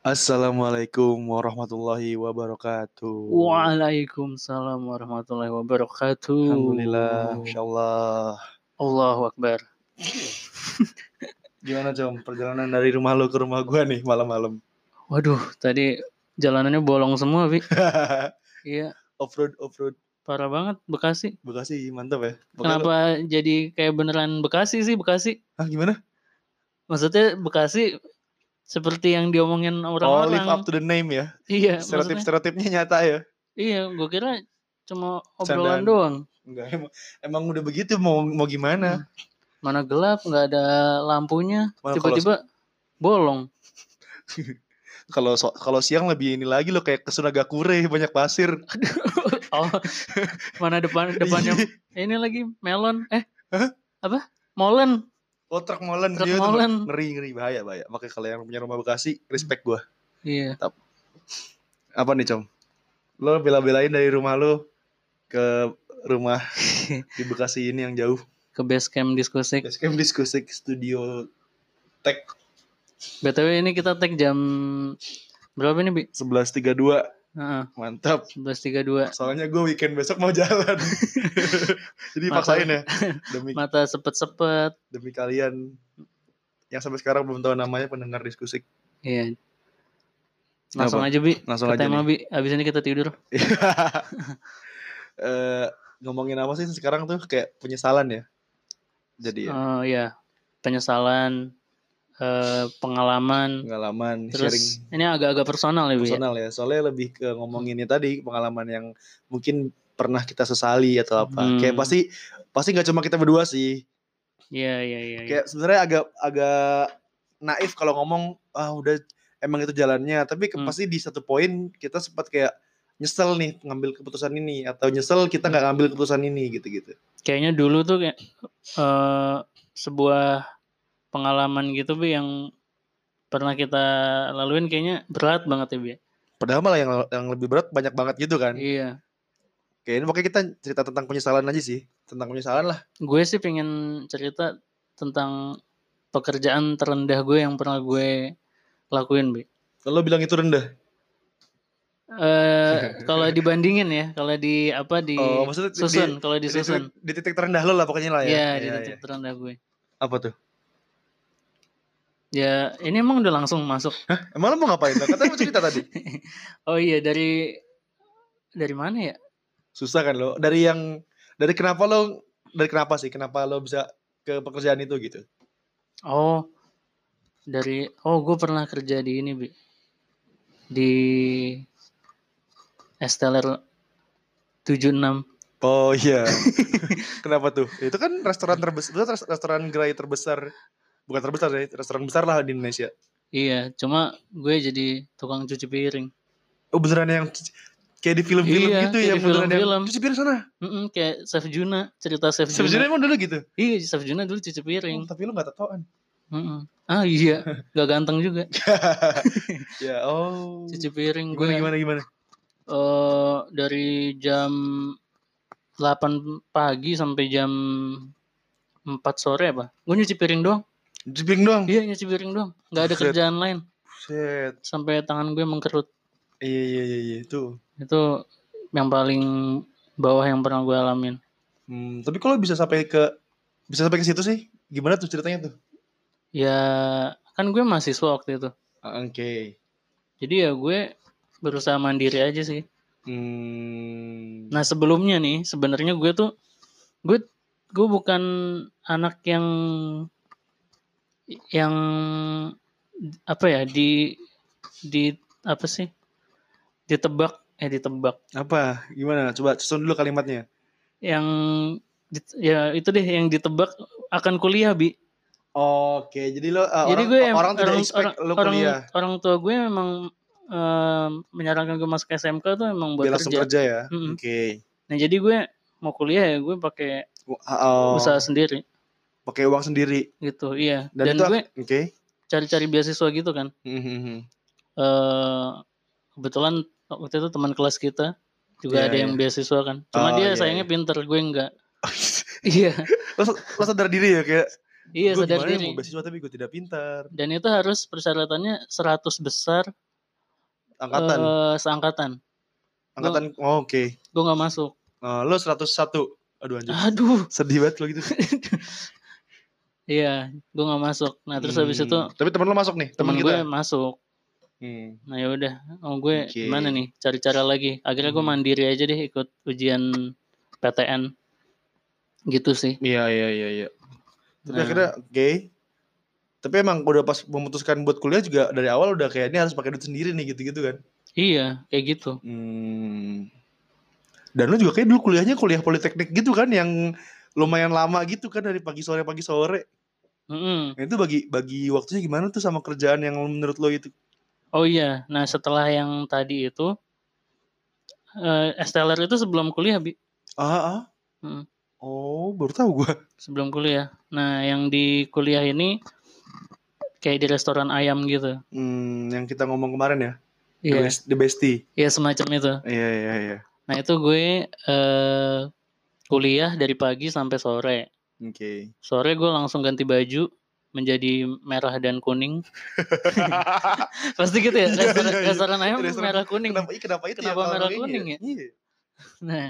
Assalamualaikum warahmatullahi wabarakatuh. Waalaikumsalam warahmatullahi wabarakatuh. Alhamdulillah, insyaallah. Allahu Akbar. Gimana Jom, perjalanan dari rumah lo ke rumah gua nih malam-malam? Waduh, tadi jalanannya bolong semua, Bi. Iya, offroad, offroad. parah banget Bekasi. Bekasi mantap ya. Bekasi Kenapa jadi kayak beneran Bekasi sih, Bekasi? lo- Ah gimana? Maksudnya Bekasi seperti yang diomongin Oh, live up orang-orang. to the name ya. iya, maksudnya. Stereotip-stereotipnya nyata ya. Iya, gue kira cuma Candaan. obrolan doang. Enggak, emang, emang udah begitu mau mau Hmm. gimana? Mana gelap, nggak ada lampunya, Malah kalau- tiba-tiba bolong. kalau so- kalau siang lebih ini lagi lo kayak ke Sunagakure banyak pasir. Oh, mana depan depannya ini lagi melon eh Iya. Hah? apa molen Oh, truk molen Truk dia tuh. molen. Ngeri ngeri bahaya bahaya. Makanya kalau yang punya rumah Bekasi, respect gua. iya Apa nih, Com? Lo bela-belain dari rumah lo ke rumah di Bekasi ini yang jauh. ke base camp diskotik Basecamp diskusi studio Tech btw ini kita tag jam berapa ini bi 11.32. Heeh, Mantap. 11.32 Soalnya gue weekend besok mau jalan. Jadi Masa- paksain ya. Demi mata sepet-sepet demi kalian yang sampai sekarang belum tahu namanya pendengar diskusi. iya langsung aja bi Langsung ke aja tema nih. bi abis ini kita tidur Eh, ngomongin apa sih sekarang tuh kayak penyesalan ya. Jadi ya, oh iya penyesalan eh, pengalaman pengalaman sharing terus ini agak-agak personal ya bi ya? personal ya. Soalnya lebih ke ngomonginnya tadi pengalaman yang mungkin pernah kita sesali atau apa. Hmm. Kayak pasti pasti nggak cuma kita berdua sih. iya iya iya iya. Kayak sebenarnya agak agak naif kalau ngomong ah udah emang itu jalannya, tapi ke- Hmm. pasti di satu poin kita sempat kayak nyesel nih ngambil keputusan ini atau nyesel kita nggak ngambil keputusan ini gitu-gitu. kayaknya dulu tuh kayak eh, sebuah pengalaman gitu bi yang pernah kita laluin kayaknya berat banget ya bi Padahal malah yang yang lebih berat banyak banget gitu kan. iya Kayak ini makanya kita cerita tentang penyesalan aja sih, tentang penyesalan lah. gue sih pengen cerita tentang pekerjaan terendah gue yang pernah gue lakuin bi Kalau lo bilang itu rendah. Eh, kalau dibandingin ya kalau di apa di Oh, maksudnya di- susun kalau di, di titik- susun di titik terendah lo lah pokoknya lah ya. iya di Iya, iya. titik terendah gue Apa tuh? ya ini emang udah langsung masuk Emang lo mau ngapain? Lo Katanya mau cerita tadi. oh iya dari dari mana ya Susah kan lo. Dari yang dari kenapa lo dari kenapa sih? Kenapa lo bisa ke pekerjaan itu gitu? Oh, dari oh gue pernah kerja di ini bi di Esteller 76 Oh iya. kenapa tuh? Itu kan restoran terbesar, restoran gerai terbesar. Bukan terbesar ya, restoran besar lah di Indonesia. iya cuma gue jadi tukang cuci piring Oh beneran yang kayak di film-film Iya, gitu kayak ya di beneran film-film. yang cuci piring sana. Mm-mm, kayak Chef Juna cerita Chef Juna Sebenarnya emang dulu gitu. iya Chef Juna dulu cuci piring Oh, tapi lo gak tatoan. Mm-mm. ah iya gak ganteng juga ya, oh. cuci piring gue Gimana gimana gimana? eh, dari jam 8 pagi sampai jam 4 sore apa gue nyuci piring doang Cuci piring doang. Iya nyuci piring doang, nggak ada Buset. kerjaan lain. Set. Sampai tangan gue mengkerut. Iya iya iya iya tuh. Itu yang paling bawah yang pernah gue alamin. Hmm, tapi kalau bisa sampai ke bisa sampai ke situ sih? Gimana tuh ceritanya tuh? Ya kan gue mahasiswa waktu itu. Ah, Oke. Jadi ya gue berusaha mandiri aja sih. Hmm. Nah sebelumnya nih sebenarnya gue tuh gue gue bukan anak yang yang apa ya di di apa sih ditebak eh ditebak Apa? Gimana? Coba susun dulu kalimatnya. yang dit- ya itu deh yang ditebak akan kuliah bi Oke, jadi lo uh, jadi orang gue em- orang tidak orang- expect orang- lo orang- kuliah orang tua gue memang eh, menyarankan gue masuk SMK tuh emang buat dia langsung kerja kerja ya. Mm-mm. Oke. nah jadi gue mau kuliah ya gue pakai Wah, Oh, usaha sendiri pakai uang sendiri. gitu iya Dan dan, itu- gue Oke. cari-cari beasiswa gitu kan Mhm. eh kebetulan waktu itu teman kelas kita juga Iya, ada yang beasiswa kan Oh, cuma dia iya, sayangnya iya. pinter gue enggak iya lo, lo sadar diri ya kayak iya "Gua sadar gimana ya, diri mau beasiswa tapi gue tidak pintar. dan itu harus persyaratannya 100 besar angkatan Eh, seangkatan. angkatan oh, oke Gue nggak masuk. Eh, lo 101 aduh Ah. anjir Aduh. sedih banget lo gitu Iya, gue nggak masuk. Nah terus habis Hmm. itu tapi temen lo masuk nih temen teman gue kita masuk. Hmm. Nah ya udah, oh gue Oke. gimana nih? Cari cara lagi. Akhirnya gue Hmm. mandiri aja deh ikut ujian PTN. Gitu sih. Iya iya iya iya. Tapi Nah. akhirnya oke. Tapi emang udah pas memutuskan buat kuliah juga dari awal udah kayak ini harus pakai duit sendiri nih gitu-gitu kan. Iya, kayak gitu. Hmm. Dan lu juga kayak dulu kuliahnya kuliah politeknik gitu kan yang lumayan lama gitu kan dari pagi sore pagi sore. Mm-mm. Nah, itu bagi bagi waktunya gimana tuh sama kerjaan yang menurut lo itu? Oh iya, nah setelah yang tadi itu, eh STLR itu sebelum kuliah, Bi. Ah, ah. Mm. Oh, baru tahu gua. Sebelum kuliah. Nah yang di kuliah ini kayak di restoran ayam gitu. Hmm, yang kita ngomong kemarin ya. The Iya, Best- The Bestie. iya semacam itu. Iya iya iya. Nah itu gue eh kuliah dari pagi sampai sore. Oke. Sore gue langsung ganti baju menjadi merah dan kuning. Pasti gitu Iya, ya. Restoran, iya, iya. restoran ayam Restoran- merah kuning. kenapa, iya, kenapa itu Kenapa kalau merah orang ini kuning ya? Iya. Nah,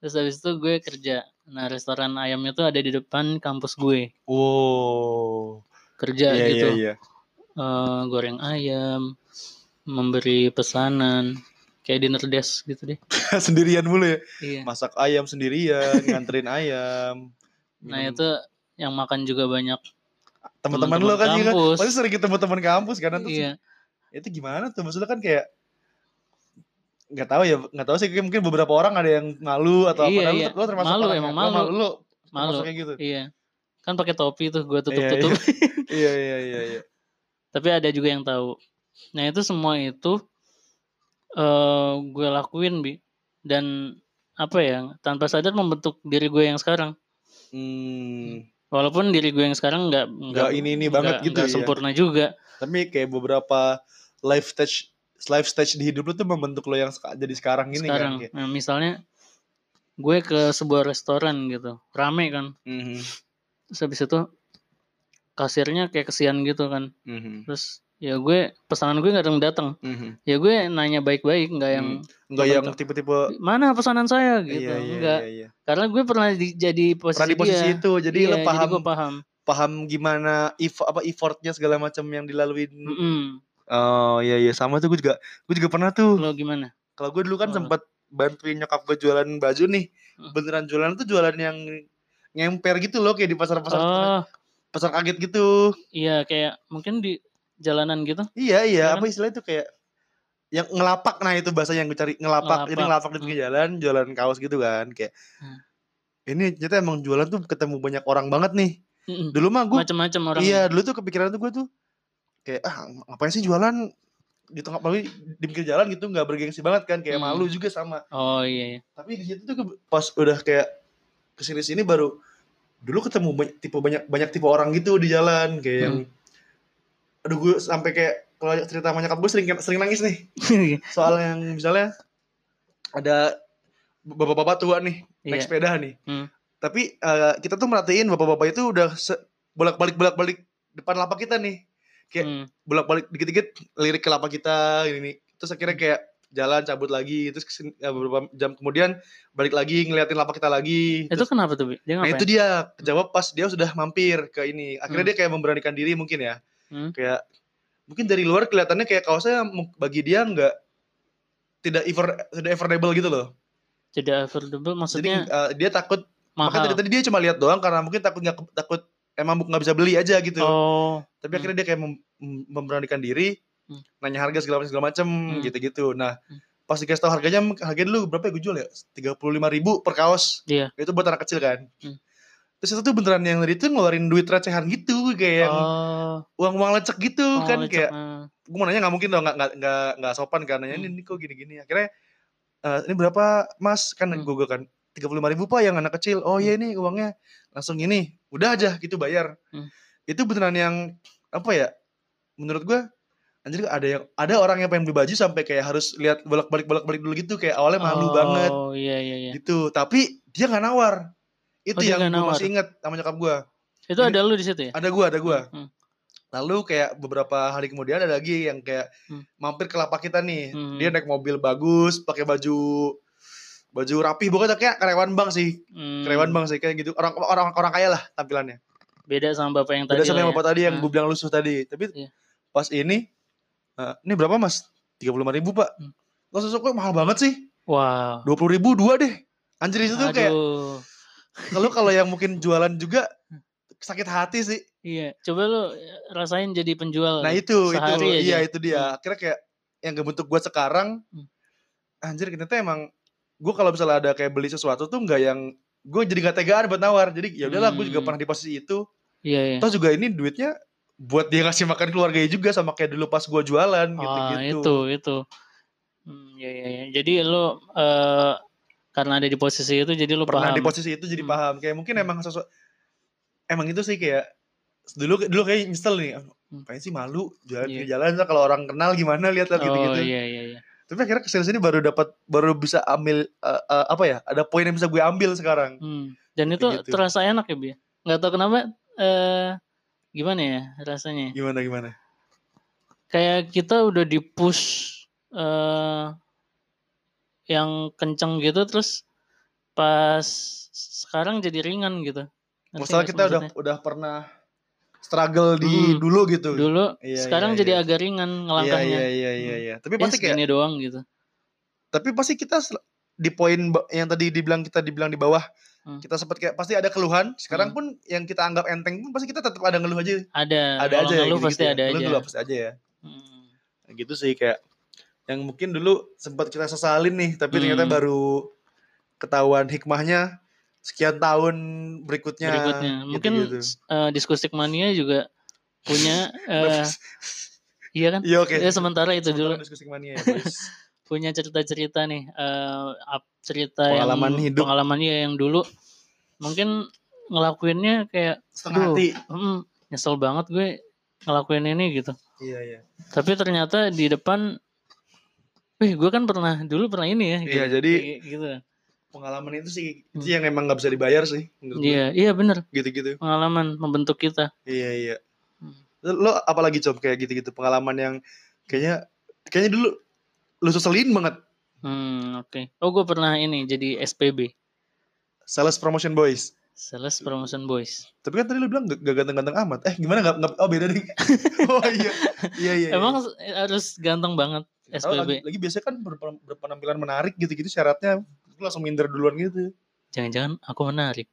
terus habis itu gue kerja. Nah, restoran ayam itu ada di depan kampus gue. Wow. Kerja Iya, gitu. Iya, iya. Eh, goreng ayam, memberi pesanan, kayak dinner desk gitu deh. sendirian mulu ya. Iya. Masak ayam sendirian, nganterin ayam. Nah, Minum- itu yang makan juga banyak. teman-teman lo teman-teman kan juga kampus. pasti sering ketemu teman kampus kan terus Iya. itu gimana tuh maksudnya kan kayak nggak tahu ya nggak tahu sih kayak mungkin beberapa orang ada yang malu atau apa Nah, Iya, lu- iya. lu termasuk Malu, orang emang yang- lu malu. lu Malu. termasuk kayak gitu Iya. Kan pakai topi tuh gue Iya, tutup-tutup. iya iya iya iya Tapi ada juga yang tahu. Nah, itu semua itu eh gue lakuin, Bi. Dan apa ya? Tanpa sadar membentuk diri gue yang sekarang. hmm, Walaupun diri gue yang sekarang nggak Nggak ini-ini banget nggak- gitu ya. nggak sempurna juga. tapi kayak beberapa life stage life stage di hidup lu tuh membentuk lo yang seka- jadi sekarang ini kan sekarang, kayak. Nah, misalnya gue ke sebuah restoran gitu, rame kan. Mhm, Terus habis itu kasirnya kayak kesian gitu kan. mhm, Terus ya gue pesanan gue nggak ada yang datang. mhm. Ya gue nanya baik-baik, nggak yang nggak yang Membentuk. tipe-tipe mana pesanan saya gitu, iya, iya, enggak. iya, iya. Karena gue pernah di- jadi posisi, Pernah di posisi dia. itu jadi Iya, lo paham gue paham. paham gimana if apa effortnya segala macam yang dilaluin Mm-mm. oh iya iya sama tuh gue juga gue juga pernah tuh Lo gimana? kalau gue dulu kan Oh. sempat bantuin nyokap gue jualan baju nih Hmm. beneran jualan tuh jualan yang ngemper gitu loh kayak di pasar pasar Oh, pasar kaget gitu iya kayak mungkin di jalanan gitu. iya iya Iya kan? apa istilahnya tuh kayak yang ngelapak nah itu bahasa yang gue cari ngelapak, jadi Ngelapak, ngelapak di pinggir jalan jualan kaos gitu kan kayak Hmm. ini ternyata emang jualan tuh ketemu banyak orang banget nih Mm-mm. dulu mah gue Macam-macam orang. Iya dulu tuh kepikiran tuh gue tuh kayak ah ngapain sih jualan di tengah apalagi di pinggir jalan gitu nggak bergengsi banget kan kayak Hmm. malu juga sama Oh iya, iya. tapi di situ tuh ke- pas udah kayak kesini sini baru dulu ketemu banyak, tipe banyak banyak tipe orang gitu di jalan kayak yang Hmm. aduh gue sampai kayak kalau cerita sama nyokap gue sering sering nangis nih Iya. soal yang misalnya ada bapak-bapak tua nih naik Iya. sepeda nih Hmm. tapi eh, kita tuh merhatiin bapak-bapak itu udah se- bolak-balik bolak-balik depan lapak kita nih kayak- Mm. bolak-balik dikit-dikit lirik ke lapak kita ini nih. terus akhirnya kayak jalan cabut lagi terus kesini- eh, beberapa jam kemudian balik lagi ngeliatin lapak kita lagi Itu Terus- kenapa ya? tuh, Bi? Dia nah ngapain? itu dia jawab pas dia sudah mampir ke ini akhirnya dia kayak memberanikan diri mungkin ya Hmm. kayak mungkin dari luar kelihatannya kayak kaosnya mu- bagi dia nggak tidak ever tidak affordable gitu loh Tidak affordable maksudnya jadi eh, dia takut mahal. makanya tadi, tadi dia cuma lihat doang karena mungkin takut nggak ke- takut emang bu- nggak bisa beli aja gitu oh. tapi Hmm. akhirnya dia kayak mem- mem- memberanikan diri Hmm. nanya harga segala macam segala macam Hmm. gitu-gitu nah Hmm. pas dikasih tahu harganya harganya dulu berapa ya gue jual ya tiga ribu per kaos Iya. itu buat anak kecil kan Hmm. terus itu tuh beneran yang dari itu ngeluarin duit recehan gitu kayak yang oh. uang-uang lecek gitu oh, kan lecek, kayak ah. gue mau nanya nggak mungkin dong nggak nggak nggak nggak sopan kan nanya Hmm. ini, ini kok gini-gini akhirnya "Eh, ini berapa mas kan Hmm. gue gue kan tiga ribu pak yang anak kecil oh iya ini uangnya langsung ini udah aja gitu bayar Hmm. itu beneran yang apa ya menurut gue anjir ada yang ada orang yang pengen beli baju sampai kayak harus lihat bolak balik bolak balik dulu gitu kayak awalnya malu oh, banget iya iya iya. gitu tapi dia nggak nawar itu Oh, dia yang gue nggak nawar. masih inget sama nyokap gue Itu Jadi- ada lu di situ ya? ada gue ada gue Hmm. Lalu kayak beberapa hari kemudian ada lagi yang kayak Hmm. mampir ke lapak kita nih. Hmm. Dia naik mobil bagus, pakai baju baju rapi pokoknya kayak karyawan bank sih. Hmm, Karyawan bank sih kayak gitu. Orang orang orang kaya lah tampilannya. Beda sama bapak yang tadi. Beda sama lah yang ya. bapak tadi yang Ah. gue bilang lusuh tadi. Tapi Iya. pas ini eh, ini berapa Mas? 35.000 ribu pak. Hmm. Terus besok kok mahal banget sih. Wow. 20.000 ribu dua deh. Anjir itu tuh kayak Aduh. Hmm. kalau kalau yang mungkin jualan juga sakit hati sih. Iya, coba lu rasain jadi penjual. Nah itu itu sehari aja. iya itu dia. Akhirnya kayak yang ngebentuk gue sekarang Hmm. anjir ternyata emang gue kalau misalnya ada kayak beli sesuatu tuh nggak yang gue jadi gak tegaan buat nawar. Jadi ya udahlah gue juga Hmm. pernah di posisi itu. Iya, iya. Terus juga ini duitnya buat dia ngasih makan keluarganya juga sama kayak dulu pas gue jualan Ah, gitu-gitu. itu, itu. Hmm, iya, iya, iya. Jadi lu eh karena ada di posisi itu jadi lu pernah paham. di posisi itu jadi Hmm. paham. Kayak mungkin Hmm. emang sesuatu emang itu sih kayak dulu dulu kayak nyesel nih. "Ah, Hmm. Kayaknya sih malu jalan Iya. di jalan ntar kalau orang kenal gimana lihat lah oh, gitu-gitu. iya, iya, iya. Tapi akhirnya kesini sini baru dapat baru bisa ambil eh, eh, apa ya? Ada poin yang bisa gue ambil sekarang. Hmm. Dan Kayak itu gitu. terasa enak ya, Bi. Nggak tahu kenapa eh gimana ya rasanya. Gimana gimana? Kayak kita udah di-push eh yang kenceng gitu terus pas sekarang jadi ringan gitu. Ngerti Masalah nggak sih kita udah maksudnya? udah pernah struggle di Hmm. dulu gitu. dulu Iya, sekarang iya, jadi iya. agak ringan Iya ngelangkahnya iya iya iya iya. Tapi ya pasti kayak segini doang gitu tapi pasti kita sel- di poin ba- yang tadi dibilang kita dibilang di bawah Hmm. kita sempat kayak pasti ada keluhan sekarang Hmm. pun yang kita anggap enteng pun pasti kita tetap ada ngeluh aja ada ada Nah, aja kalau ya, ngeluh gitu-gitu pasti ya. ada Lu aja ngeluh pasti aja ya Hmm. gitu sih kayak yang mungkin dulu sempat kita sesalin nih tapi ternyata Hmm. baru ketahuan hikmahnya sekian tahun berikutnya berikutnya mungkin Ya, gitu-gitu. eh, diskusik mania juga punya eh, iya kan iya oke ya sementara itu Sementara dulu diskusi mania ya, boys. punya cerita-cerita nih eh, ap- cerita Pengalaman yang hidup. pengalamannya yang dulu mungkin ngelakuinnya kayak setengah Aduh. hati "Hmm, nyesel banget gue ngelakuin ini gitu iya iya tapi ternyata di depan wih gue kan pernah dulu pernah ini ya Iya, jadi- Kayak gitu pengalaman itu sih itu yang emang nggak bisa dibayar sih menurut gue. Hmm. iya iya bener gitu-gitu pengalaman membentuk kita Iya iya. Hmm. Lo apalagi coba kayak gitu-gitu pengalaman yang kayaknya kayaknya dulu lu seselin banget hmm oke oh gue pernah ini jadi SPB sales promotion boys. sales promotion boys Tapi kan tadi lu bilang gak gak ganteng-ganteng amat. Eh gimana gak, oh beda deh. oh iya. Iya iya. emang iya. s- harus ganteng banget Tahu lagi, SPB lagi biasanya kan berpen- berpenampilan menarik gitu-gitu syaratnya lu langsung minder duluan gitu. jangan-jangan aku menarik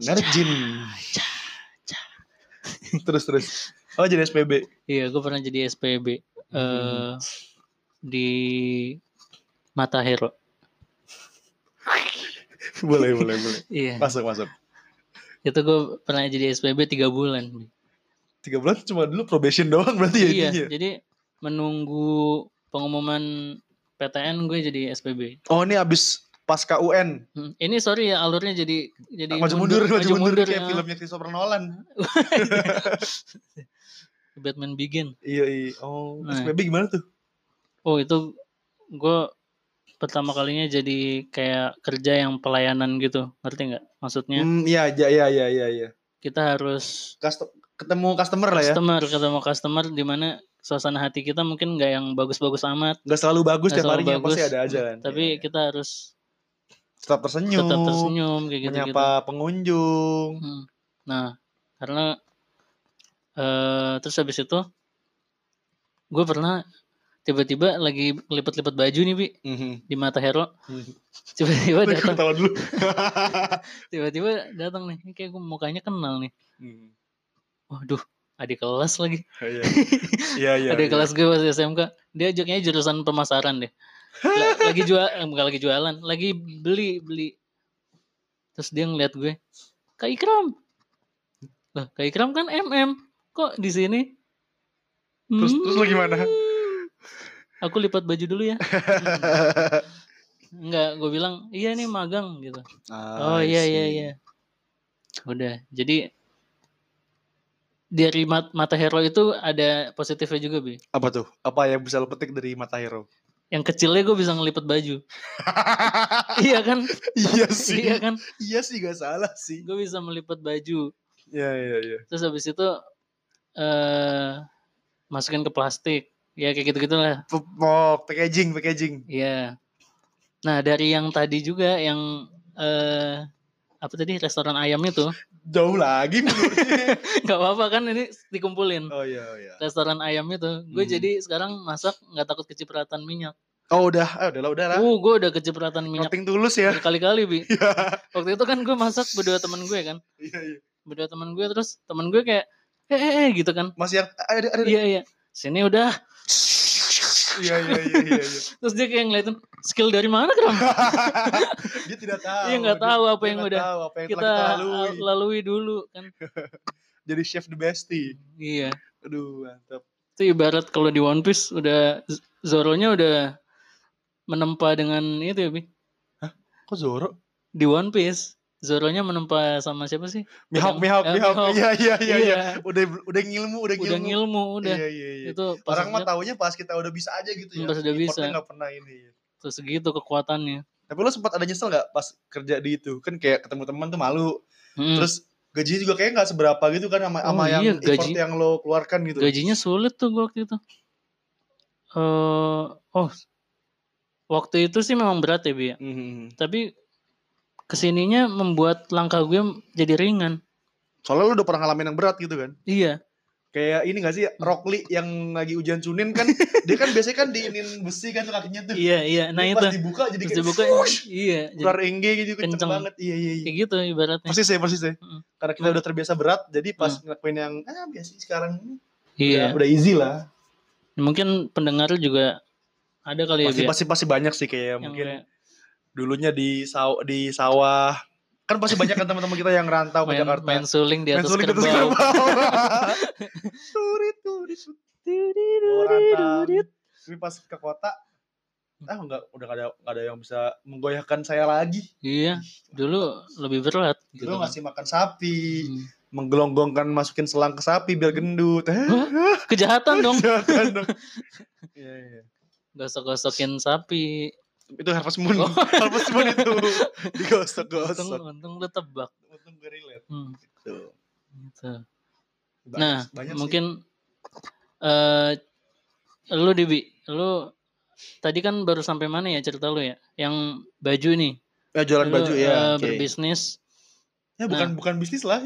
Menarik jin. terus terus. Oh jadi SPB. iya gue pernah jadi SPB eh Hmm. di Mata Hero boleh boleh boleh. iya Masuk masuk. itu gue pernah jadi SPB tiga bulan Bi. Tiga bulan cuma dulu probation doang berarti ya Iya, intinya. jadi menunggu pengumuman PTN gue jadi SPB. Oh ini abis pasca UN. Hmm, Ini sorry ya alurnya jadi jadi maju mundur, maju mundur, kayak ya. filmnya Christopher Nolan. Batman Begin. Iya, iya. Oh, Nah. SPB gimana tuh? Oh itu gue pertama kalinya jadi kayak kerja yang pelayanan gitu, ngerti nggak? Maksudnya Hmm, iya, iya, iya, iya, iya, iya. kita harus Custom- ketemu customer lah ya. customer ketemu customer di mana suasana hati kita mungkin nggak yang bagus-bagus amat, Gak selalu bagus Nggak tiap selalu harinya, bagus, pasti ada aja kan. tapi Iya, iya. kita harus tetap tersenyum, tetap tersenyum kayak gitu. menyapa pengunjung. Hmm. Nah, karena eh terus habis itu gue pernah tiba-tiba lagi lipat-lipat baju nih bi Mhm. di mata hero Mhm. tiba-tiba Gue datang ketawa dulu. tiba-tiba datang nih Ini kayak gue mukanya kenal nih Hmm. waduh adik kelas lagi Iya, iya, iya. adik iya. kelas gue pas SMK dia ajaknya jurusan pemasaran deh La- lagi jual eh, bukan lagi jualan lagi beli beli terus dia ngeliat gue kak Ikram lah kak Ikram kan MM kok di sini Terus- terus lo gimana? "Hmm, aku lipat baju dulu ya Enggak, gue bilang iya nih magang gitu Ah, oh I iya iya see. iya udah jadi dari mat- mata hero itu ada positifnya juga bi Apa tuh? Apa yang bisa lo petik dari mata hero? yang kecilnya gue bisa ngelipat baju iya kan iya iya sih, kan iya sih gak salah sih. gue bisa melipat baju Iya iya iya. terus habis itu eh masukin ke plastik ya kayak gitu gitulah P- Oh, packaging, packaging. ya nah dari yang tadi juga yang eh apa tadi restoran ayamnya tuh Jauh lagi menurutnya. nggak apa-apa kan ini dikumpulin oh iya iya. restoran ayamnya tuh gue Hmm. jadi sekarang masak nggak takut kecipratan minyak Oh udah, ah, udah lah udah lah. uh gue udah kecipratan minyak Noting tulus ya. berkali-kali bi waktu itu kan gue masak berdua teman gue kan Iya iya. berdua teman gue terus teman gue kayak eh eh, eh," gitu kan Masih yang ada ada. ada. iya iya sini udah Iya iya iya iya. iya. terus dia kayak ngeliatin skill dari mana kram Dia tidak tahu. Iya, nggak Dia- tahu apa dia yang nggak udah tahu apa yang kita telah kita lalui. lalui. dulu kan Jadi chef the bestie. iya Aduh, mantap. itu ibarat kalau di One Piece udah Z- Zoro-nya udah menempa dengan itu ya bi Kok Zoro? di One Piece Zoro-nya menempa sama siapa sih Mihawk, Yang- Mihawk, eh, Mihawk. Mihawk. Iya iya iya iya. Iya. Udah udah ngilmu, udah ngilmu. udah ngilmu udah Iya iya iya. itu pas Orang mah udah- taunya pas kita udah bisa aja gitu ya. Pas udah Effortnya bisa. nggak pernah ini. terus segitu kekuatannya Tapi lo sempat ada nyesel nggak pas kerja di itu? Kan kayak ketemu teman tuh malu. Mm. Terus gajinya juga kayak nggak seberapa gitu kan sama Oh, sama yang iya, effort gaji. yang lo keluarkan gitu. gajinya sulit tuh gua waktu itu eh oh waktu itu sih memang berat ya bi ya. Mhm. tapi kesininya membuat langkah gue jadi ringan Soalnya lo udah pernah ngalamin yang berat gitu kan. iya Kayak ini gak sih Rockli yang lagi ujian cunin kan dia kan biasanya kan diinin besi kan kakinya tuh. iya iya nah Jadi itu Pas dibuka jadi terus kayak dibuka "Wush!" iya jadi keluar engge gitu kenceng, Kenceng. banget. Iya iya iya. kayak gitu ibaratnya Persis ya, persis ya. Mm. Karena kita udah terbiasa berat, jadi pas ngelakuin yang ah biasa sekarang ini iya udah, udah easy lah. mungkin pendengar juga ada kali ya Pasti Bi, ya, pasti pasti banyak sih kayak yang mungkin kayak dulunya di saw- di sawah. Kan pasti banyak kan teman-teman kita yang rantau ke main, Jakarta. main suling di Main atas suling di atas kerbau kerbau. Turit turit. Bawa rantang. Tapi pas ke kota Hmm. ah enggak udah nggak ada nggak ada yang bisa menggoyahkan saya lagi. iya dulu lebih berat gitu Dulu kan. ngasih makan sapi, Hmm. menggelonggongkan masukin selang ke sapi biar gendut. kejahatan dong Jangan dong. Iya, iya. gosok-gosokin sapi Itu Harvest Moon. Oh. Harvest Moon itu untung digosok-gosok. untung lu tebak Untung gue relate. Hmm, Gitu. gitu. Banyak- Nah, banyak sih. mungkin eh lu Dibi, lu tadi kan baru sampai mana ya cerita lu ya? Yang baju nih. Ya, jualan Lu, baju ya. eh, oke. berbisnis. Ya bukan bukan bisnis lah.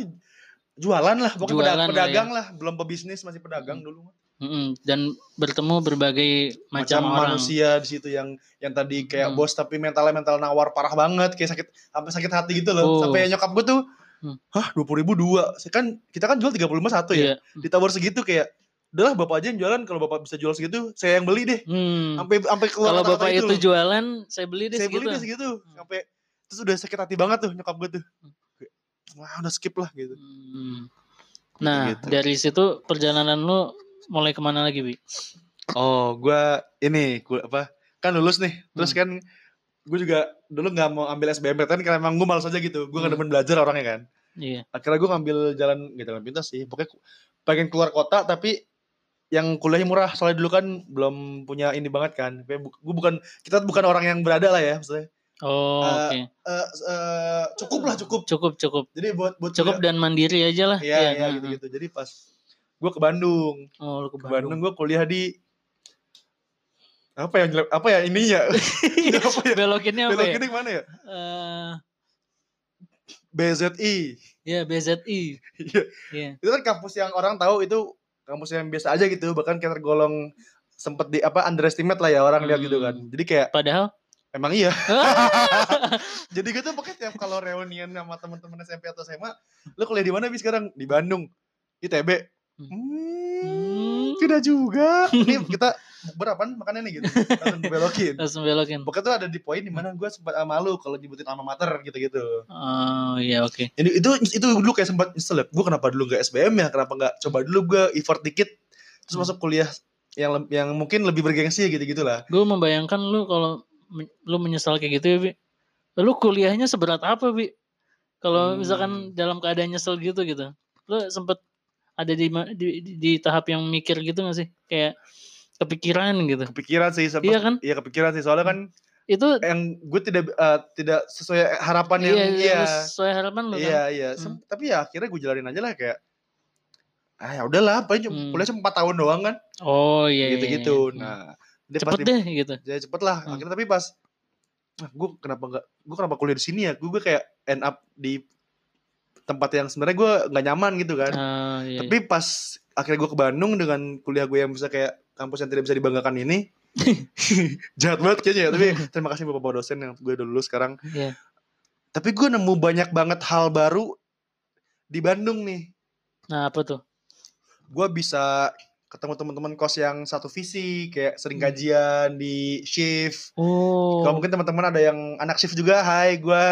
Jualan lah, pokoknya Jualan peda- lah ya. pedagang lah, belum pebisnis masih pedagang Hmm. dulu. Mm-mm, dan bertemu berbagai macam, orang. manusia di situ yang yang tadi kayak Hmm. bos tapi mentalnya mental nawar parah banget kayak sakit sampai sakit hati gitu loh Oh. sampai nyokap gue tuh Hmm. hah dua puluh ribu dua kan kita kan jual tiga puluh lima satu ya Iya. ditawar segitu kayak udahlah bapak aja yang jualan kalau bapak bisa jual segitu saya yang beli deh Hmm. sampai sampai keluar Kalau kata-kata gitu Bapak itu, loh. jualan, saya beli deh saya beli segitu. Hmm. deh segitu sampai terus udah sakit hati banget tuh nyokap gue tuh Kayak, wah udah skip lah gitu Hmm. Nah, Gitu-gitu. dari situ perjalanan lu mulai kemana lagi, Bi? oh gue ini gua apa kan lulus nih terus Hmm. kan gue juga dulu nggak mau ambil SBMPTN karena emang gue malas aja gitu gue nggak Hmm. demen belajar orangnya kan Iya. akhirnya gue ngambil jalan nggak jalan pintas sih pokoknya ku- pengen keluar kota tapi yang kuliahnya murah soalnya dulu kan belum punya ini banget kan gue bukan kita bukan orang yang berada lah ya maksudnya Oh, Eh, oke. Eh, s- eh, cukup lah cukup Cukup, cukup. jadi buat buat Cukup dan mandiri aja lah. ya ya Iya, gitu gitu jadi pas gue ke Bandung Oh, lu ke ke Bandung Bandung. gue kuliah di apa ya jelek- apa ya ininya apa ya Belokinnya apa belok ya? ini mana ya Eh, BZI ya BZI. Iya. Iya. itu kan kampus yang orang tahu itu kampus yang biasa aja gitu bahkan kayak tergolong sempet di apa underestimate lah ya orang lihat gitu kan Hmm. jadi kayak Padahal emang iya jadi gue tuh pakai tiap kalau reunian sama teman-teman SMP atau SMA lo kuliah di mana bi sekarang di Bandung ITB Hmm. hmm, Hmm. tidak juga ini kita berapa makannya nih gitu langsung belokin langsung belokin. Pokoknya tuh ada di poin di Hmm. mana gue sempat malu kalau nyebutin alma mater gitu-gitu. Oh, iya oke. Jadi itu itu dulu kayak sempat nyesel ya. Gue kenapa dulu gak SBM ya? Kenapa gak coba dulu gue effort dikit terus Hmm. masuk kuliah yang lem- yang mungkin lebih bergengsi gitu gitulah. Gue membayangkan lu kalau men- lu menyesal kayak gitu ya, Bi. Lu kuliahnya seberat apa, Bi? Kalau Hmm. misalkan dalam keadaan nyesel gitu gitu. Lu sempet ada di, ma- di di- di tahap yang mikir gitu gak sih? Kayak kepikiran gitu. Kepikiran sih sempat. Iya kan? Hmm. Iya kepikiran sih soalnya kan itu yang gue tidak eh, tidak sesuai harapan Kan yang iya, iya, dia. sesuai harapan lu Iya kan. iya. Sem- Tapi ya akhirnya gue jalanin aja lah kayak ah ya udahlah paling cuma Hmm. kuliah cuma 4 tahun doang kan Oh iya. iya, gitu-gitu. iya. Nah, dia pas cepet di- deh gitu. ya cepet lah. Hmm. Akhirnya tapi pas nah, gue kenapa nggak gue kenapa kuliah di sini ya? Gue gue kayak end up di tempat yang sebenarnya gue nggak nyaman gitu kan. Ah, iya. Tapi pas akhirnya gue ke Bandung dengan kuliah gue yang bisa kayak kampus yang tidak bisa dibanggakan ini jahat banget kayaknya ya. Tapi terima kasih bapak dosen yang gue udah lulus sekarang. Iya. Tapi gue nemu banyak banget hal baru di Bandung nih. Nah, apa tuh? Gue bisa ketemu teman-teman kos yang satu visi kayak sering Hmm. kajian di shift. Oh. Kalau mungkin teman-teman ada yang anak shift juga, hai gue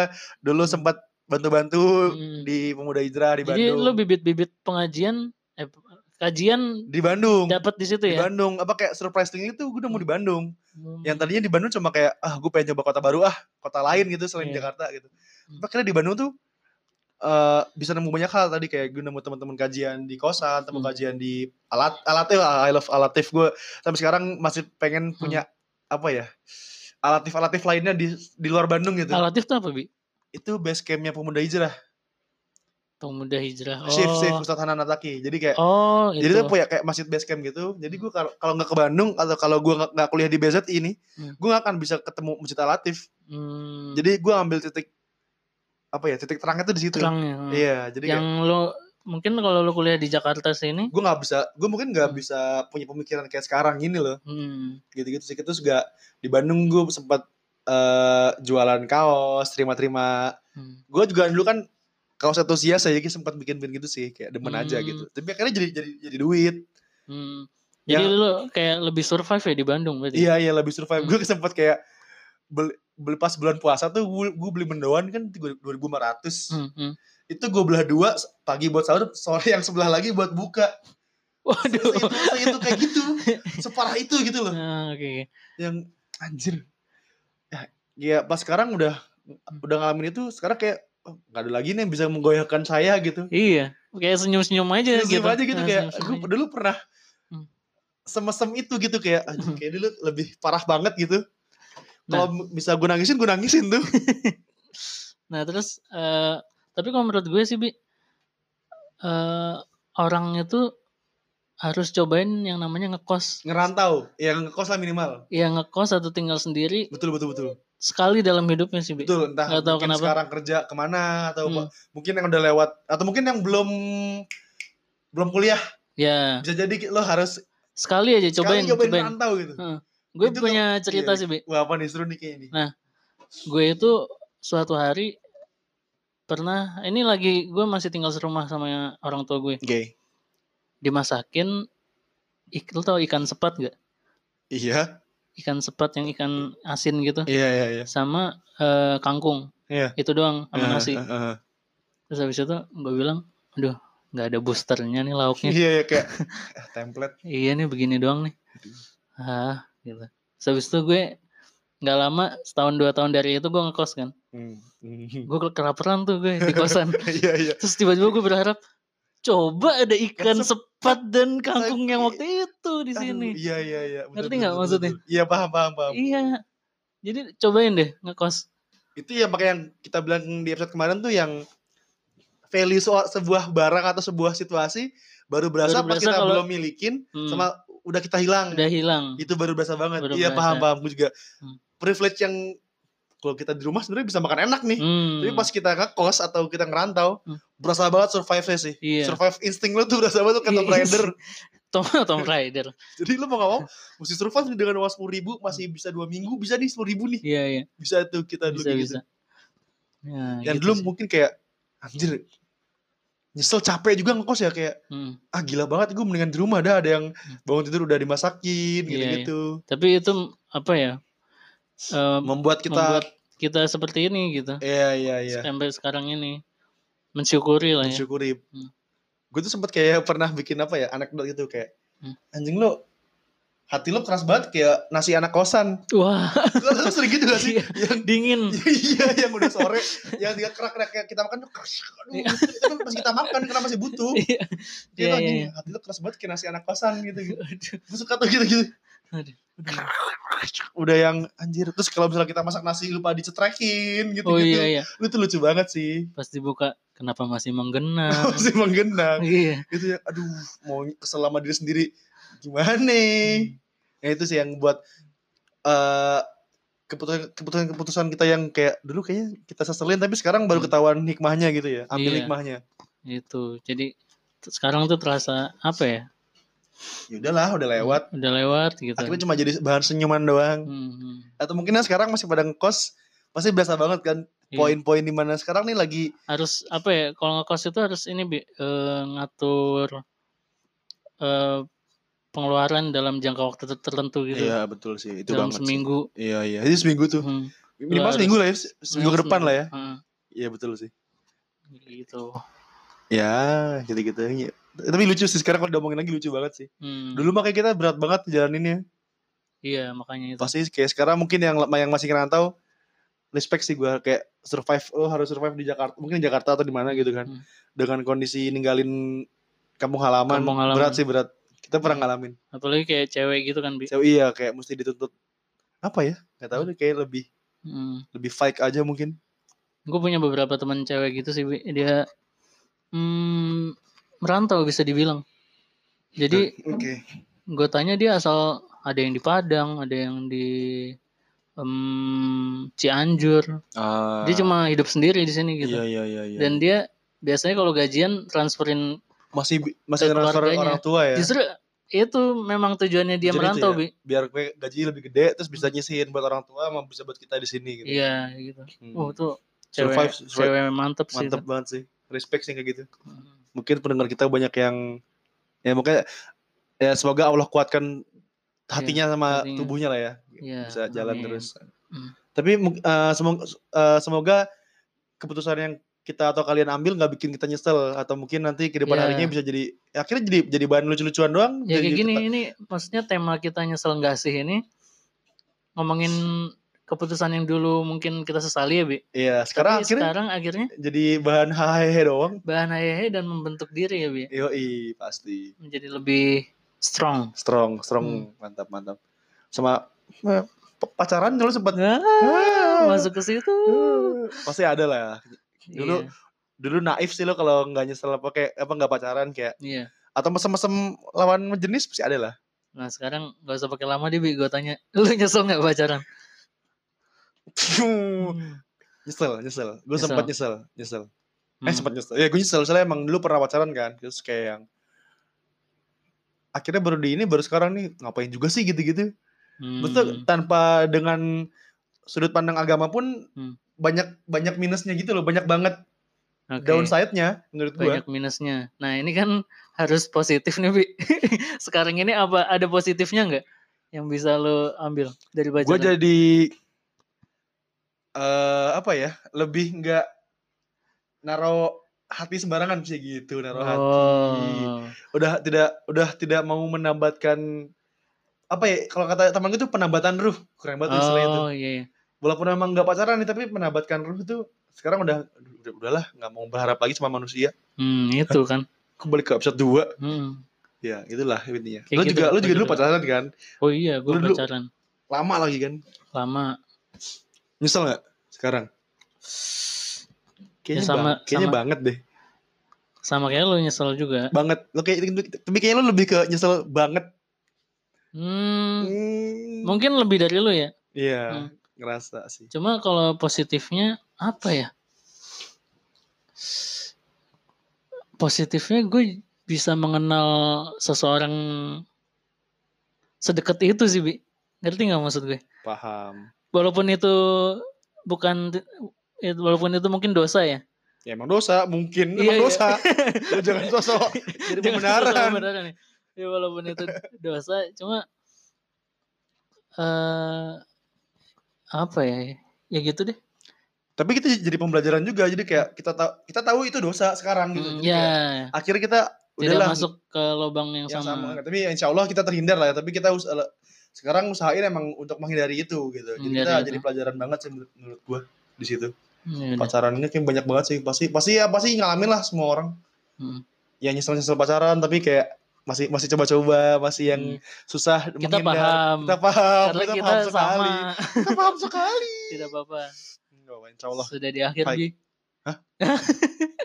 dulu sempat bantu-bantu Mm. di Pemuda Hijrah di Hmm. Jadi Bandung. lu bibit-bibit pengajian eh kajian di Bandung. dapat di situ Di ya. Bandung, apa kayak surprise gitu, thing itu gue nemu di Bandung. Hmm. yang tadinya di Bandung cuma kayak ah gue pengen coba kota baru ah kota lain gitu selain Iya. Jakarta gitu tapi akhirnya di Bandung tuh eh bisa nemu banyak hal tadi kayak gue nemu teman-teman kajian di kosan teman Hmm. kajian di alat alatif I love alatif gue sampai sekarang masih Hmm. pengen punya apa ya alatif alatif lainnya di di luar Bandung gitu Alatif tuh apa, Bi? itu base campnya pemuda hijrah Pemuda hijrah. Oh. shift shift Ustadz Hanan Ataki jadi kayak Oh, Hmm. itu. Jadi tuh punya kayak masjid base camp gitu. Jadi gue kalau kalau nggak ke Bandung atau kalau gue nggak nggak kuliah di BZ ini, Hmm. gue nggak akan bisa ketemu masjid alatif. Hmm, Jadi gue ambil titik apa ya titik terangnya tuh di situ. terangnya. hmm. Iya, jadi yang kayak lu mungkin kalau lu kuliah di Jakarta sini, gue nggak bisa, gue mungkin nggak Hmm. bisa punya pemikiran kayak sekarang ini loh, hmm, gitu-gitu sih. Terus gak di Bandung gue sempat eh, jualan kaos, terima-terima. hmm. Gue juga dulu kan kaos antusias ya, jadi sempat bikin-bikin gitu sih, kayak demen aja Hmm. gitu. Tapi akhirnya jadi jadi jadi duit. hmm. Jadi Yang- lu kayak lebih survive ya di Bandung berarti. Ya. Iya iya lebih survive. Hmm. Gue sempat kayak beli, beli pas bulan puasa tuh gue, gue beli mendoan kan 2500 Hmm, hmm. itu gue belah dua pagi buat sahur sore yang sebelah lagi buat buka Waduh. itu, itu kayak gitu separah itu gitu loh Nah, oke. oke. yang anjir ya, ya pas sekarang udah Hmm. udah ngalamin itu sekarang kayak oh, nggak ada lagi nih yang bisa menggoyahkan saya gitu Iya, kayak senyum-senyum aja Terus gitu. gitu. aja gitu Nah, kayak senyum-senyum gue aja. dulu pernah Hmm. semesem itu gitu kayak anjir, Hmm. kayak dulu lebih parah banget gitu kalau bisa gue nangisin gue nangisin tuh Nah terus eh tapi kalau menurut gue sih bi eh orang itu harus cobain yang namanya ngekos. ngerantau yang ngekos lah minimal Ya ngekos atau tinggal sendiri betul betul betul sekali dalam hidupnya sih bi. betul entah Nggak tahu mungkin kenapa. sekarang kerja kemana atau Hmm. mungkin yang udah lewat atau mungkin yang belum belum kuliah Ya bisa jadi lo harus sekali aja sekali cobain nyobain cobain. Hmm. merantau gitu Gue Itu punya cerita iya. sih bi. wah apa nih seru nih kayaknya ini Nah. Gue itu suatu hari pernah ini lagi gue masih tinggal serumah sama orang tua gue oke dimasakin ik, lo tau ikan sepat gak? iya Ikan sepat yang ikan asin gitu. iya iya iya sama eh, kangkung. Iya. Itu doang sama nasi. Heeh, heeh. Terus habis itu gue bilang, aduh nggak ada boosternya nih iya lauknya. iya kayak eh, template iya nih begini doang nih. Ah, gitu. Terus habis itu gue nggak lama setahun dua tahun dari itu gue ngekos kan. Hmm, hmm. Gue kelaparan tuh gue di kosan. iya iya Terus tiba-tiba gue berharap coba ada ikan Ikan sepat dan kangkung yang waktu itu Aduh, di sini. iya iya iya betul, Ngerti betul, nggak betul, maksudnya? betul. iya paham paham paham Iya. Jadi cobain deh ngekos. itu ya pakai yang kita bilang di episode kemarin tuh yang value soal sebuah barang atau sebuah situasi baru berasa Baru pas berasa kita kalau- belum milikin Hmm, sama Iya. udah kita hilang udah hilang. itu baru berasa banget Baru iya berasa. paham paham gue juga Hmm. privilege yang kalau kita di rumah sebenarnya bisa makan enak nih Hmm, tapi pas kita ke kos atau kita ngerantau Hmm. berasa banget survive nya sih Iya. survive insting lo tuh berasa banget tuh kata Iya, rider Tom Tom Rider. jadi lo mau gak mau mesti survive nih dengan uang sepuluh ribu masih bisa dua minggu bisa nih sepuluh ribu nih Iya iya. bisa tuh kita dulu bisa kayak bisa gitu Nah, yang gitu dulu sih. mungkin kayak anjir nyesel capek juga ngekos ya kayak Mm. ah gila banget gue mendingan di rumah dah ada yang bangun tidur udah dimasakin Iya, gitu gitu tapi itu apa ya eh, membuat kita membuat kita seperti ini gitu iya iya iya sampai sekarang ini mensyukuri lah ya mensyukuri. Hmm. Gue tuh sempet kayak pernah bikin apa ya anekdot gitu kayak Hmm. anjing lo hati lo keras banget kayak nasi anak kosan. wah Lo lo sering gitu gak sih? Iya. yang dingin iya yang udah sore yang dia kerak kerak kayak kita makan tuh keras. aduh itu kan pas kita makan karena masih butuh Iya, dia iya, tuh anjing iya. hati lo keras banget kayak nasi anak kosan gitu gue suka tuh gitu gitu Aduh. udah yang anjir terus kalau misalnya kita masak nasi lupa dicetrekin gitu gitu Oh iya iya. itu lucu banget sih Pas dibuka kenapa masih menggena? masih menggenang iya. itu ya aduh mau kesel sama diri sendiri gimana ya itu sih yang buat eh keputusan keputusan keputusan kita yang kayak dulu kayaknya kita seselin tapi sekarang baru Hmm. ketahuan hikmahnya gitu ya ambil Iya. hikmahnya Itu. gitu. Jadi t- sekarang tuh terasa apa ya? ya udahlah udah lewat Udah lewat gitu. akhirnya cuma jadi bahan senyuman doang Hmm, hmm. atau mungkin yang sekarang masih pada ngekos pasti berasa banget kan Iya. poin-poin di mana sekarang nih lagi harus apa ya kalau ngekos itu harus ini Bi, eh, ngatur eh, pengeluaran dalam jangka waktu ter- tertentu gitu iya betul sih itu dalam banget sih. seminggu Iya, iya iya jadi seminggu tuh Hmm, minimal harus- seminggu lah ya se- seminggu ke depan lah ya Oh. Heeh, iya betul sih gitu ya gitu-gitu ya. tapi lucu sih sekarang kalau ngomongin lagi lucu banget sih Hmm, dulu makanya kita berat banget jalaninnya iya makanya itu pasti kayak sekarang mungkin yang yang masih ngerantau respect sih gue kayak survive lo harus survive di Jakarta mungkin di Jakarta atau di mana gitu kan Hmm. dengan kondisi ninggalin kampung halaman, Kampung halaman. berat sih berat kita pernah ngalamin apalagi kayak cewek gitu kan bi so, iya kayak mesti dituntut apa ya nggak tahu deh kayak lebih Hmm. lebih fake aja mungkin gue punya beberapa teman cewek gitu sih Bi. dia hmm, merantau bisa dibilang jadi oke gue tanya dia asal ada yang di Padang ada yang di em, Cianjur dia cuma hidup sendiri di sini gitu Ah, iya iya iya, iya. dan dia biasanya kalau gajian transferin masih masih Ke transfer keluarganya. orang tua ya justru itu memang tujuannya dia Tujuan itu merantau ya? bi biar gue gaji lebih gede terus bisa nyisihin buat orang tua sama bisa buat kita di sini gitu. iya gitu Hmm. oh tuh cewek Survive, survive. cewek mantep, sih Hmm. Mantep itu. banget sih. Respect sih kayak gitu. Mungkin pendengar kita banyak yang ya makanya ya semoga Allah kuatkan hatinya sama Iya, hatinya. tubuhnya lah ya. Iya, Bisa jalan amin. terus. Hmm. Tapi semoga eh, semoga keputusan yang kita atau kalian ambil nggak bikin kita nyesel atau mungkin nanti ke depan Iya. harinya bisa jadi ya akhirnya jadi jadi bahan lucu-lucuan doang. ya jadi kayak gini tetap- ini maksudnya tema kita nyesel nggak sih ini ngomongin keputusan yang dulu mungkin kita sesali ya bi Iya, sekarang tapi akhirnya sekarang akhirnya jadi bahan hahehe doang. bahan hehehe dan membentuk diri ya bi Yoi, pasti. menjadi lebih strong strong strong Hmm. mantap mantap sama eh, p- pacaran dulu sempat Ah, masuk ke situ pasti ada lah Ah. ya. Dulu- Iya, dulu naif sih lo kalau nggak nyesel apa kayak apa nggak pacaran kayak iya. atau mesem-mesem lawan jenis pasti ada lah Nah sekarang gak usah pakai lama deh Bi Gue tanya Lu nyesel gak pacaran? Eh, Hmm. nyesel nyesel gue sempat Nyesel. nyesel nyesel eh Hmm. sempat nyesel ya gue nyesel soalnya emang dulu pernah pacaran kan terus kayak yang akhirnya baru di ini baru sekarang nih ngapain juga sih gitu-gitu Hmm. Betul, tanpa dengan sudut pandang agama pun Hmm. banyak banyak minusnya gitu loh, banyak banget Oke, downside-nya menurut gua. Banyak minusnya Nah ini kan harus positif nih Bi Sekarang ini apa ada positifnya gak? Yang bisa lu ambil dari pacaran? Gua jadi eh apa ya? Lebih nggak naro hati sembarangan sih gitu, naro hati. Oh Udah tidak udah tidak mau menambatkan apa ya kalau kata teman gue tuh penambatan ruh kurang banget oh. itu Oh iya iya. walaupun emang nggak pacaran nih tapi menambatkan ruh tuh sekarang udah aduh, udah udahlah nggak mau berharap lagi sama manusia Hmm, itu kan kembali ke episode 2 Hmm. Ya, itulah intinya. Kayak lu gitu, juga lu gua juga dulu juga. pacaran kan? Oh iya gue Lu dulu- pacaran Lama lagi kan? Lama Nyesel nggak sekarang? Kayaknya, Ya sama- bang- kayaknya sama. banget deh. Sama kayak lu nyesel juga Banget. Lu kayak tapi kayaknya lu lebih ke nyesel banget. hmm, Hmm. Mungkin lebih dari lu ya Iya, Hmm. ngerasa sih. Cuma kalau positifnya apa ya? Positifnya gue bisa mengenal seseorang sedekat itu sih, Bi. Ngerti nggak maksud gue? Paham. Walaupun itu bukan it- walaupun itu mungkin dosa ya. Ya emang dosa, mungkin Iya, emang iya. dosa. Lu jangan sosok jadi Jangan sesama pembenaran. beneran ya. Ya, walaupun itu dosa, cuma eh apa ya? Ya gitu deh. Tapi kita jadi pembelajaran juga. Jadi kayak kita tahu kita tahu itu dosa sekarang gitu. Hmm, Jadi kayak, ya, Akhirnya kita tidak udahlah masuk ke lubang yang, yang sama. sama. Tapi ya insya Allah kita terhindar lah. ya. Tapi kita us- ele- sekarang usahain emang untuk menghindari itu gitu. Jadi Menghindari kita itu. jadi pelajaran banget sih menurut, menurut gue di situ. Ya udah. Pacarannya kayak banyak banget sih. Pasti pasti ya pasti ngalamin lah semua orang. Mm. Ya nyesel nyesel pacaran tapi kayak masih masih coba-coba masih yang susah Hmm. Kita menghindar. paham. kita paham Karena kita, kita, paham sama. sekali kita paham sekali Tidak apa-apa. Nggak apa, insya Allah Sudah di akhir, Baik. Gi.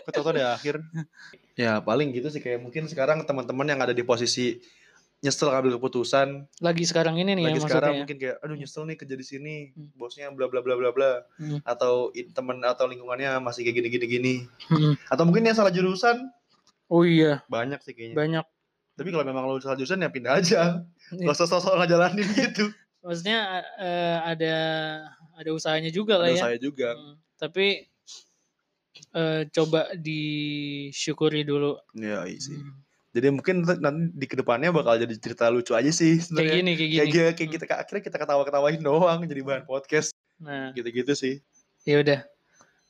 Ketua di akhir. Ya paling gitu sih kayak mungkin sekarang teman-teman yang ada di posisi nyesel ngambil keputusan Lagi sekarang ini nih lagi ya sekarang maksudnya. mungkin kayak aduh nyesel nih kerja di sini Hmm. bosnya bla bla bla bla bla Hmm. atau i- teman atau lingkungannya masih kayak gini gini gini Mm-mm. atau mungkin yang salah jurusan Oh iya, banyak sih kayaknya banyak. tapi kalau memang lo salah jurusan ya pindah aja Iya. gak usah sok-sok ngejalanin gitu Maksudnya eh, ada ada usahanya juga lah Aduh, ya. saya juga Mm. Tapi eh, coba disyukuri dulu. Hmm. ya iya sih jadi mungkin nanti- nanti di kedepannya bakal jadi cerita lucu aja sih Kayak sebenarnya gini, kayak kayak gini. gini, kayak kita akhirnya kita ketawa-ketawain doang jadi bahan podcast Nah, gitu-gitu sih ya udah.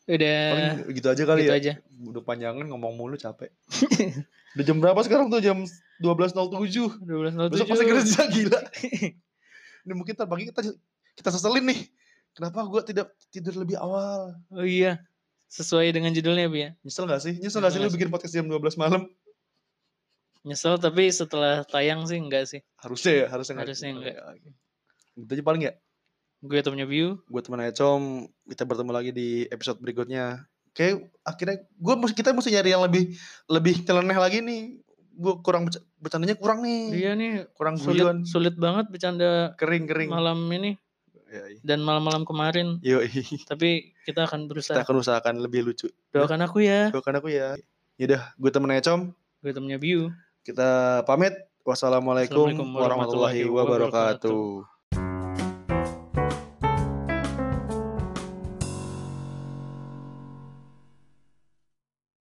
Udah Paling gitu aja kali Eh, gitu ya. aja. Udah panjangan ngomong mulu capek. Udah jam berapa sekarang tuh? Jam 12.07. 12.07. Besok pasti kerja gila. Ini mungkin ntar pagi kita kita seselin nih. Kenapa gua tidak tidur lebih awal? Oh iya. Sesuai dengan judulnya, Bi ya. Nyesel gak sih? Nyesel gak sih lu Nyesel. bikin podcast jam 12 malam? Nyesel tapi setelah tayang sih enggak sih. Harusnya ya, harusnya nggak. Harusnya nggak. Ya, oke. Gitu aja paling ya. Gue temennya View. Gue teman Ecom, kita bertemu lagi di episode berikutnya. Oke, akhirnya gue kita mesti nyari yang lebih lebih celeneh lagi nih. Gue kurang berca- bercandanya kurang nih. Iya nih Kurang guyon. sulit, sulit banget bercanda kering kering malam ini Yoi. dan malam-malam kemarin. Yoi. Tapi kita kita akan berusaha. akan usahakan lebih lucu Doakan aku ya. doakan aku ya yaudah gue temen Ecom Gue temennya Biu. kita pamit wassalamualaikum Assalamualaikum warahmatullahi warahmatullahi wabarakatuh. wabarakatuh